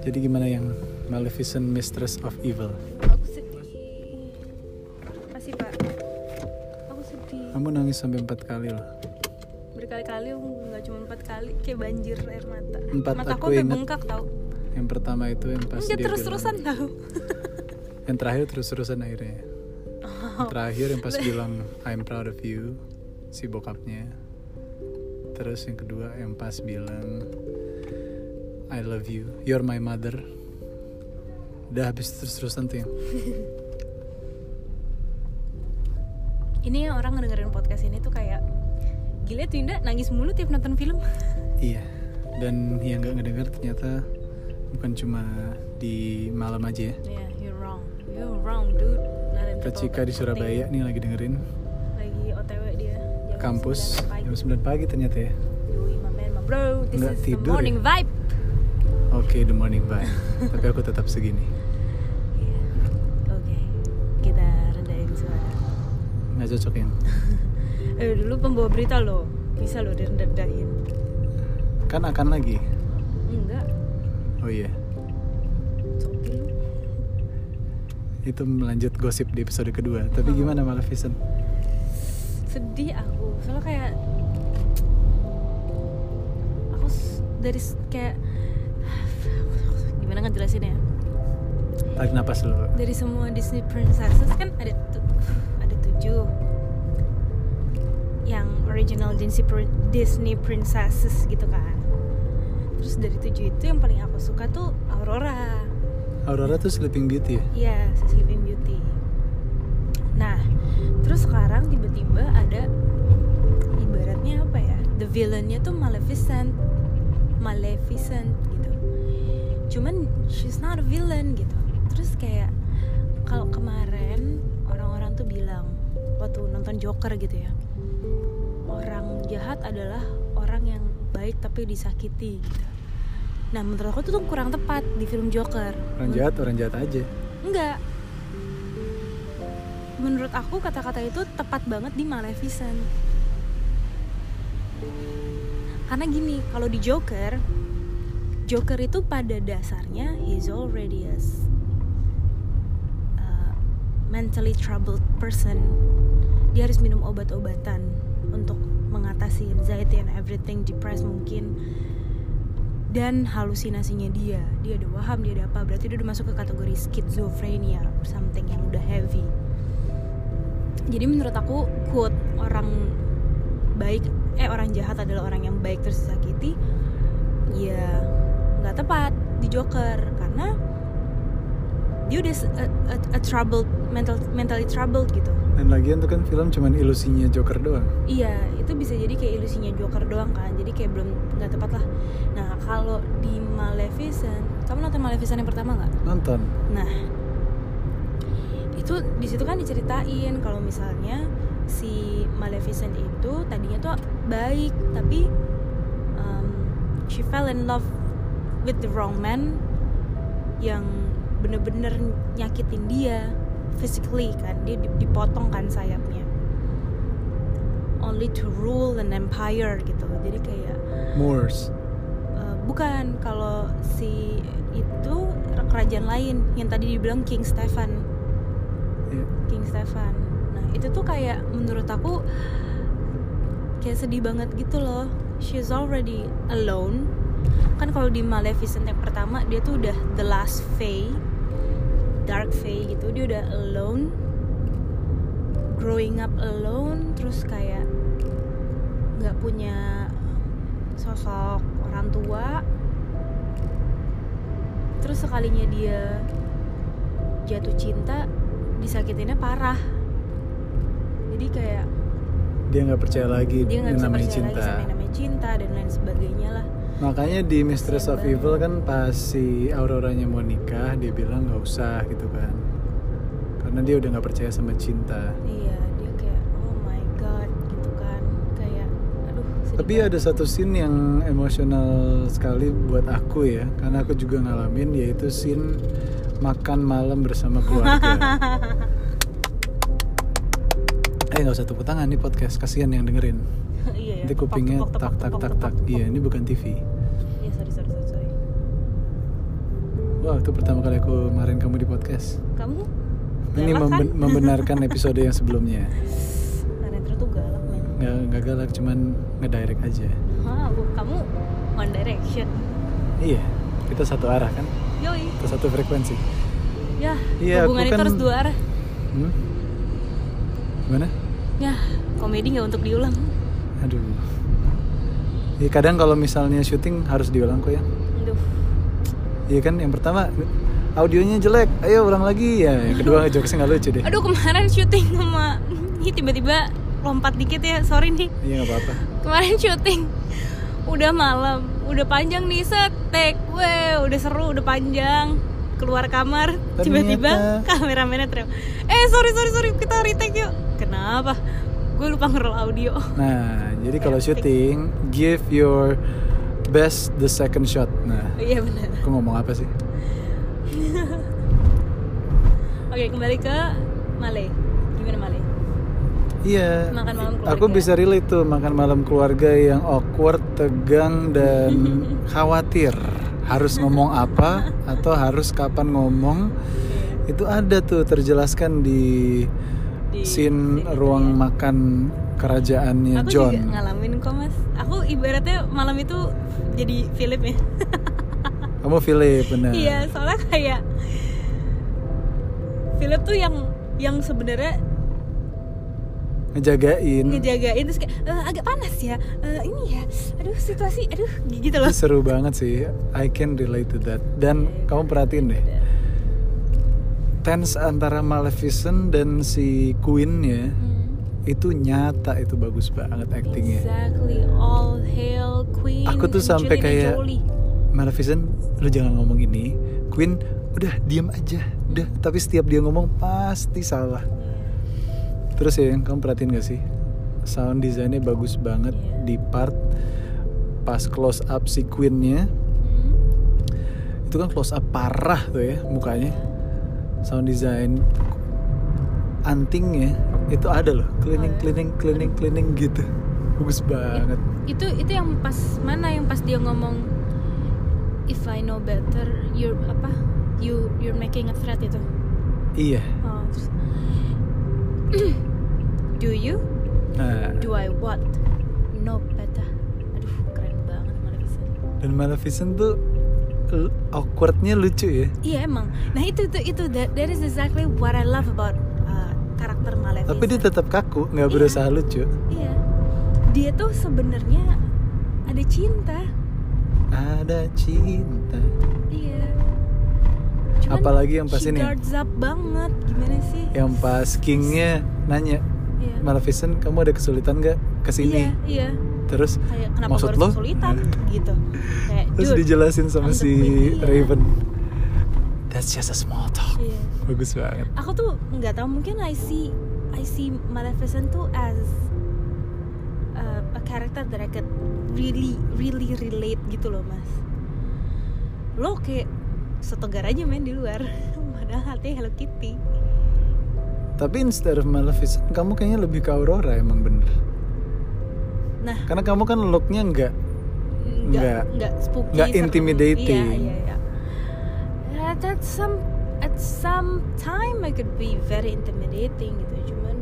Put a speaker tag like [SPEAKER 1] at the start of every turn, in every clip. [SPEAKER 1] Jadi gimana yang Maleficent Mistress of Evil?
[SPEAKER 2] Aku sedih. Masih pak. Aku sedih.
[SPEAKER 1] Kamu nangis sampai empat kali loh.
[SPEAKER 2] Berkali-kali aku nggak cuma empat kali kayak banjir air mata.
[SPEAKER 1] Empat,
[SPEAKER 2] mata
[SPEAKER 1] aku
[SPEAKER 2] aku sampai
[SPEAKER 1] ingat.
[SPEAKER 2] bengkak tau.
[SPEAKER 1] Yang pertama itu yang pas
[SPEAKER 2] Enggak
[SPEAKER 1] dia
[SPEAKER 2] terus-terusan
[SPEAKER 1] bilang-
[SPEAKER 2] tau.
[SPEAKER 1] Yang terakhir terus-terusan akhirnya. Yang
[SPEAKER 2] Oh.
[SPEAKER 1] terakhir yang pas bilang I'm proud of you si bokapnya. Terus yang kedua yang pas bilang I love you, you're my mother. Udah habis terus-terusan tuh ya. yang
[SPEAKER 2] Ini yang orang ngedengerin podcast ini tuh kayak gila tuh Indah nangis mulu tiap nonton film.
[SPEAKER 1] Iya. Dan yang nggak ngedengar ternyata bukan cuma di malam aja ya.
[SPEAKER 2] Ya, you're wrong. You're wrong, dude. Nah, Not in the
[SPEAKER 1] Kacika di
[SPEAKER 2] podcast.
[SPEAKER 1] Surabaya nih lagi dengerin
[SPEAKER 2] lagi OTW dia jam
[SPEAKER 1] kampus
[SPEAKER 2] 9 pagi.
[SPEAKER 1] jam 9 pagi ternyata ya.
[SPEAKER 2] Yoi, my man, my bro. This
[SPEAKER 1] Nggak
[SPEAKER 2] is
[SPEAKER 1] tidur
[SPEAKER 2] the
[SPEAKER 1] ya?
[SPEAKER 2] morning vibe.
[SPEAKER 1] Oke, the morning vibe. Tapi aku tetap segini.
[SPEAKER 2] Iya. Oke. Kita rendahin suara.
[SPEAKER 1] Nggak cocok yang.
[SPEAKER 2] Eh dulu pembawa berita loh. Bisa loh direndahin.
[SPEAKER 1] Kan akan lagi.
[SPEAKER 2] Enggak.
[SPEAKER 1] Oh iya.
[SPEAKER 2] Coki lu.
[SPEAKER 1] Itu melanjut gosip di episode kedua. Tapi gimana Maleficent?
[SPEAKER 2] Sedih aku. Soalnya kayak aku s- dari s- kayak gimana ngejelasin ya?
[SPEAKER 1] Tarik napas dulu.
[SPEAKER 2] Dari semua Disney princesses kan ada tu- ada tujuh yang original Disney pr- Disney princesses gitu kan. Terus dari tujuh itu yang paling aku suka tuh Aurora.
[SPEAKER 1] Aurora tuh Sleeping Beauty ya?
[SPEAKER 2] Iya, si Sleeping Beauty. Nah, terus sekarang tiba-tiba ada ibaratnya apa ya? The villainnya tuh Maleficent, Maleficent gitu. Cuman she's not a villain gitu. Terus kayak kalau kemarin orang-orang tuh bilang waktu nonton Joker gitu ya, orang jahat adalah orang yang baik tapi disakiti gitu. Nah menurut aku tuh tuh kurang tepat di film Joker.
[SPEAKER 1] Orang jahat, orang jahat aja.
[SPEAKER 2] Enggak. Menurut aku kata-kata itu tepat banget di Maleficent. Karena gini, kalau di Joker, Joker itu pada dasarnya he's already a s- a mentally troubled person. Dia harus minum obat-obatan untuk mengatasi anxiety and everything, depressed mungkin dan halusinasinya dia dia ada waham dia ada apa berarti dia udah masuk ke kategori skizofrenia or something yang udah heavy jadi menurut aku quote orang baik eh orang jahat adalah orang yang baik terus disakiti ya nggak tepat di Joker karena dia udah s- a, a- a troubled mental mentally troubled gitu
[SPEAKER 1] Dan lagian tuh kan film cuman ilusinya Joker doang.
[SPEAKER 2] Iya, itu bisa jadi kayak ilusinya Joker doang kan. Jadi kayak belum nggak tepat lah. Nah, kalau di Maleficent, kamu nonton Maleficent yang pertama nggak?
[SPEAKER 1] Nonton.
[SPEAKER 2] Nah, itu di situ kan diceritain kalau misalnya si Maleficent itu tadinya tuh baik, tapi um, she fell in love with the wrong man yang bener-bener nyakitin dia physically kan dia di- dipotong kan sayapnya only to rule an empire gitu jadi kayak
[SPEAKER 1] Moors.
[SPEAKER 2] Eh, bukan kalau si itu kerajaan lain yang tadi dibilang King Stefan
[SPEAKER 1] Iya.
[SPEAKER 2] King Stefan nah itu tuh kayak menurut aku kayak sedih banget gitu loh she's already alone kan kalau di Maleficent yang pertama dia tuh udah the last fae dark fae gitu dia udah alone growing up alone terus kayak nggak punya sosok orang tua terus sekalinya dia jatuh cinta disakitinnya parah jadi kayak
[SPEAKER 1] Dia nggak percaya lagi
[SPEAKER 2] dia nggak
[SPEAKER 1] yang
[SPEAKER 2] bisa
[SPEAKER 1] namanya
[SPEAKER 2] percaya lagi sama yang namanya cinta dan lain sebagainya lah
[SPEAKER 1] Makanya di Mistress of
[SPEAKER 2] Siapa?
[SPEAKER 1] Evil kan pas si Auroranya mau nikah dia bilang nggak usah gitu kan karena dia udah nggak percaya sama cinta.
[SPEAKER 2] iya dia kayak oh my god gitu kan kayak aduh sedih
[SPEAKER 1] Tapi
[SPEAKER 2] banget.
[SPEAKER 1] ada satu scene yang emosional sekali buat aku ya karena aku juga ngalamin yaitu scene makan malam bersama keluarga. eh nggak usah tepuk tangan nih podcast kasihan yang dengerin
[SPEAKER 2] iya ya
[SPEAKER 1] nanti
[SPEAKER 2] tepok,
[SPEAKER 1] kupingnya
[SPEAKER 2] tepok, tepok,
[SPEAKER 1] tak Iya, tak
[SPEAKER 2] tepok,
[SPEAKER 1] tak
[SPEAKER 2] tepok,
[SPEAKER 1] tak
[SPEAKER 2] tepok.
[SPEAKER 1] iya ini bukan TV
[SPEAKER 2] iya sorry sorry sorry, sorry.
[SPEAKER 1] Wah itu pertama kali aku marahin kamu di podcast
[SPEAKER 2] Kamu
[SPEAKER 1] Ini
[SPEAKER 2] Galak,
[SPEAKER 1] memben-
[SPEAKER 2] kan?
[SPEAKER 1] membenarkan episode yang sebelumnya
[SPEAKER 2] Renetro Nah, tuh galak men
[SPEAKER 1] Nggak, nggak galak cuman ngedirect aja
[SPEAKER 2] Hah, bu- kamu One Direction
[SPEAKER 1] Iya kita satu arah kan
[SPEAKER 2] Yoi
[SPEAKER 1] Kita satu frekuensi
[SPEAKER 2] Yah,
[SPEAKER 1] Iya,
[SPEAKER 2] hubungan
[SPEAKER 1] aku
[SPEAKER 2] itu
[SPEAKER 1] kan-
[SPEAKER 2] harus dua arah
[SPEAKER 1] hmm? Gimana?
[SPEAKER 2] Yah, Ya, komedi nggak untuk diulang
[SPEAKER 1] Aduh Ya kadang kalau misalnya syuting harus diulang kok ya
[SPEAKER 2] Aduh
[SPEAKER 1] Iya kan yang pertama audionya jelek ayo ulang lagi ya yang kedua jokesnya nggak lucu deh
[SPEAKER 2] Aduh kemarin syuting sama Ih, tiba-tiba lompat dikit ya, sorry nih
[SPEAKER 1] Iya nggak apa-apa
[SPEAKER 2] Kemarin syuting Udah malam, udah panjang nih set Take, weh, udah seru, udah panjang Keluar kamar, tiba-tiba
[SPEAKER 1] Ternyata-
[SPEAKER 2] kameramennya teriak Eh sorry, sorry, sorry, kita retake yuk Kenapa? Gue lupa ngerol audio
[SPEAKER 1] Nah, jadi kalau syuting, give your best the second shot. Nah,
[SPEAKER 2] Iya benar.
[SPEAKER 1] aku ngomong apa sih?
[SPEAKER 2] Oke, kembali ke Male. Gimana Male?
[SPEAKER 1] Iya.
[SPEAKER 2] Makan malam keluarga.
[SPEAKER 1] Aku bisa relate tuh makan malam keluarga yang awkward, tegang dan khawatir. Harus ngomong apa atau harus kapan ngomong? Itu ada tuh terjelaskan di,
[SPEAKER 2] Di
[SPEAKER 1] scene
[SPEAKER 2] scene itu
[SPEAKER 1] ruang
[SPEAKER 2] ya.
[SPEAKER 1] makan kerajaannya
[SPEAKER 2] Aku
[SPEAKER 1] John.
[SPEAKER 2] juga ngalamin kok, Mas. Aku ibaratnya malam itu jadi Philip ya.
[SPEAKER 1] Kamu Philip benar.
[SPEAKER 2] Iya, soalnya kayak Philip tuh yang yang sebenarnya
[SPEAKER 1] Ngejagain.
[SPEAKER 2] ngejagain terus kayak "Eh, agak panas ya. Eh, ini ya. Aduh, situasi aduh gitu loh.
[SPEAKER 1] Seru banget sih. I can relate to that. Dan
[SPEAKER 2] Iya.
[SPEAKER 1] kamu perhatiin deh. tense antara Maleficent dan si Queen ya
[SPEAKER 2] Hmm.
[SPEAKER 1] itu nyata itu bagus banget actingnya
[SPEAKER 2] Exactly all hail Queen.
[SPEAKER 1] Aku tuh sampai
[SPEAKER 2] Angelina
[SPEAKER 1] kayak-
[SPEAKER 2] Jolie.
[SPEAKER 1] Maleficent lu jangan ngomong ini Queen udah diem aja udah tapi setiap dia ngomong pasti salah terus ya yang kamu perhatiin gak sih sound desainnya bagus banget
[SPEAKER 2] Iya.
[SPEAKER 1] di part pas close up si Queennya
[SPEAKER 2] Hmm.
[SPEAKER 1] itu kan close up parah tuh ya
[SPEAKER 2] Hmm?
[SPEAKER 1] mukanya sound design antingnya itu ada loh cleaning
[SPEAKER 2] Oh, ya?
[SPEAKER 1] cleaning cleaning cleaning gitu bagus banget
[SPEAKER 2] itu itu yang pas mana yang pas dia ngomong if I know better you apa you you're making a threat itu
[SPEAKER 1] iya
[SPEAKER 2] oh, terus do you
[SPEAKER 1] nah,
[SPEAKER 2] do I what no better aduh keren banget Maleficent
[SPEAKER 1] dan Maleficent tuh l- awkwardnya lucu ya
[SPEAKER 2] iya emang nah itu itu itu that, that is exactly what I love about uh, karakter Maleficent
[SPEAKER 1] tapi dia tetap kaku nggak
[SPEAKER 2] Iya.
[SPEAKER 1] berusaha lucu
[SPEAKER 2] iya dia tuh sebenarnya ada cinta
[SPEAKER 1] ada cinta
[SPEAKER 2] iya
[SPEAKER 1] Apalagi yang pas
[SPEAKER 2] she
[SPEAKER 1] ini ya?
[SPEAKER 2] guards up banget gimana sih
[SPEAKER 1] yang pas kingnya nanya
[SPEAKER 2] Iya.
[SPEAKER 1] Maleficent kamu ada kesulitan nggak kesini
[SPEAKER 2] Iya, iya.
[SPEAKER 1] terus
[SPEAKER 2] Kayak kenapa
[SPEAKER 1] Maksud
[SPEAKER 2] gua harus
[SPEAKER 1] lo?
[SPEAKER 2] kesulitan gitu. Kayak
[SPEAKER 1] terus
[SPEAKER 2] dude.
[SPEAKER 1] dijelasin sama
[SPEAKER 2] I'm the
[SPEAKER 1] si
[SPEAKER 2] queen, iya.
[SPEAKER 1] Raven that's just a small talk
[SPEAKER 2] Iya.
[SPEAKER 1] bagus banget
[SPEAKER 2] Aku tuh nggak tahu mungkin I see I see Maleficent tuh as uh, a character that I could really really relate gitu loh, Mas. Lo kayak setegar aja main di luar. Padahal hati Hello Kitty.
[SPEAKER 1] Tapi instead of Maleficent, kamu kayaknya lebih ke Aurora emang bener.
[SPEAKER 2] Nah,
[SPEAKER 1] Karena kamu kan looknya nggak Nggak-
[SPEAKER 2] nggak nggak spooky
[SPEAKER 1] nggak
[SPEAKER 2] serem.
[SPEAKER 1] intimidating.
[SPEAKER 2] iya iya iya At- at some at some time I could be very intimidating gitu cuman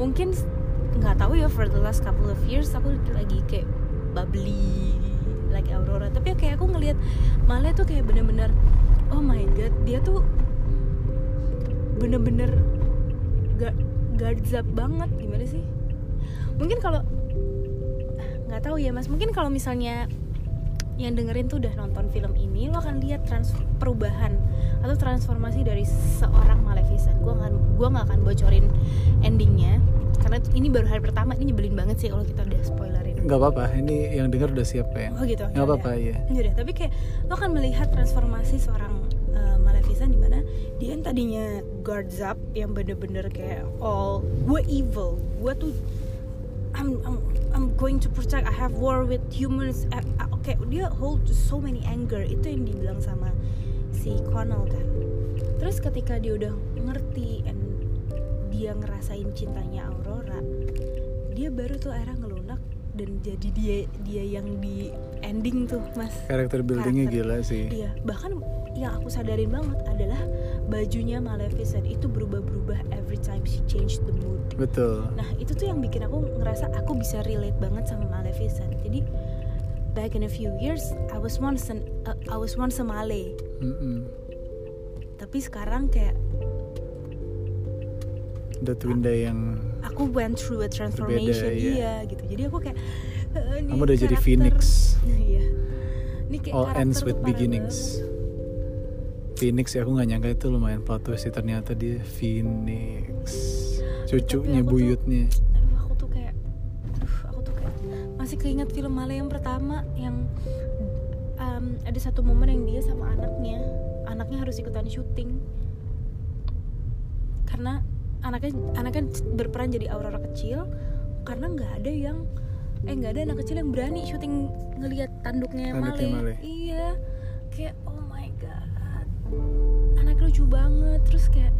[SPEAKER 2] mungkin s- nggak tahu ya for the last couple of years aku lagi kayak bubbly like Aurora tapi kayak aku ngelihat Male tuh kayak bener-bener oh my god dia tuh bener-bener gak guards up banget gimana sih mungkin kalau nggak tahu ya mas mungkin kalau misalnya yang dengerin tuh udah nonton film ini lo akan lihat trans perubahan atau transformasi dari seorang Maleficent gue nggak gua nggak akan bocorin endingnya karena ini baru hari pertama ini nyebelin banget sih kalau kita udah spoilerin
[SPEAKER 1] nggak apa-apa. Ini yang denger udah siap ya.
[SPEAKER 2] Oh gitu.
[SPEAKER 1] Nggak apa-apa ya.
[SPEAKER 2] Yaudah, tapi kayak lo kan melihat transformasi seorang uh, Maleficent di mana dia yang tadinya guards up yang bener-bener kayak all gue evil, gue tuh I'm, I'm I'm going to protect. I have war with humans. Eh, ah, Oke, dia hold so many anger. Itu yang dibilang sama si Connell kan. Terus ketika dia udah ngerti and dia ngerasain cintanya Aurora, dia baru tuh akhirnya ngelunak dan jadi dia dia yang di ending tuh mas
[SPEAKER 1] Karakter buildingnya
[SPEAKER 2] Karakter.
[SPEAKER 1] gila sih.
[SPEAKER 2] Iya, bahkan yang aku sadarin banget adalah bajunya Maleficent itu berubah-berubah every time she changed the mood.
[SPEAKER 1] Betul.
[SPEAKER 2] Nah, itu tuh yang bikin aku ngerasa aku bisa relate banget sama Maleficent. Jadi back in a few years I was once an, uh, I was once a Malay,
[SPEAKER 1] Mm-mm.
[SPEAKER 2] tapi sekarang kayak
[SPEAKER 1] The Twinda yang
[SPEAKER 2] aku went through a
[SPEAKER 1] iya.
[SPEAKER 2] transformation iya gitu. Jadi aku kayak "Eh, ini
[SPEAKER 1] kamu udah jadi
[SPEAKER 2] karakter-
[SPEAKER 1] Phoenix.
[SPEAKER 2] Iya. Ini kayak
[SPEAKER 1] All
[SPEAKER 2] karakter
[SPEAKER 1] ends
[SPEAKER 2] tuh
[SPEAKER 1] with
[SPEAKER 2] parah
[SPEAKER 1] beginnings. Phoenix ya aku nggak nyangka itu lumayan plot twist sih ternyata dia Phoenix. Cucunya
[SPEAKER 2] aku tuh-
[SPEAKER 1] buyutnya.
[SPEAKER 2] banget. Aduh, aku tuh kayak aduh, aku tuh kayak masih keinget film Malay yang pertama yang um, ada satu momen yang dia sama anaknya, anaknya harus ikutan syuting. Karena anaknya anaknya berperan jadi Aurora kecil karena nggak ada yang eh nggak ada anak kecil yang berani syuting ngelihat tanduknya
[SPEAKER 1] Tanduknya
[SPEAKER 2] Malay.
[SPEAKER 1] Malay.
[SPEAKER 2] Iya. Kayak oh my god. Anaknya lucu banget terus kayak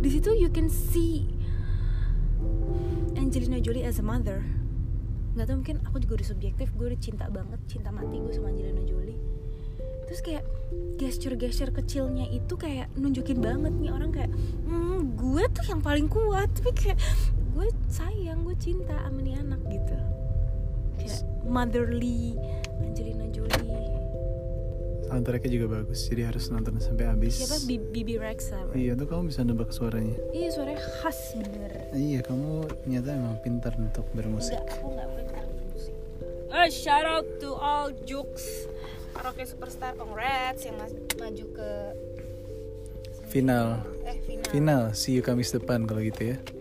[SPEAKER 2] di situ you can see Angelina Jolie as a mother nggak tau mungkin aku juga udah subjektif gue udah cinta banget cinta mati gue sama Angelina Jolie terus kayak gesture-gesture kecilnya itu kayak nunjukin banget nih orang kayak hmm, gue tuh yang paling kuat tapi kayak gue sayang gue cinta sama nih anak gitu kayak motherly Angelina Jolie
[SPEAKER 1] Soundtracknya juga bagus. Jadi harus nonton sampai habis.
[SPEAKER 2] siapa Bi- Bibi Rexa right?
[SPEAKER 1] Iya tuh kamu bisa nebak suaranya.
[SPEAKER 2] iya suaranya khas bener
[SPEAKER 1] Iya kamu ternyata emang pintar untuk bermusik.
[SPEAKER 2] Enggak, aku nggak pintar musik. Eh, shout out to all jokes karaoke superstar congrats yang mas- maju ke
[SPEAKER 1] Final.
[SPEAKER 2] eh final.
[SPEAKER 1] Iya. Final, see you Kamis depan kalau gitu ya.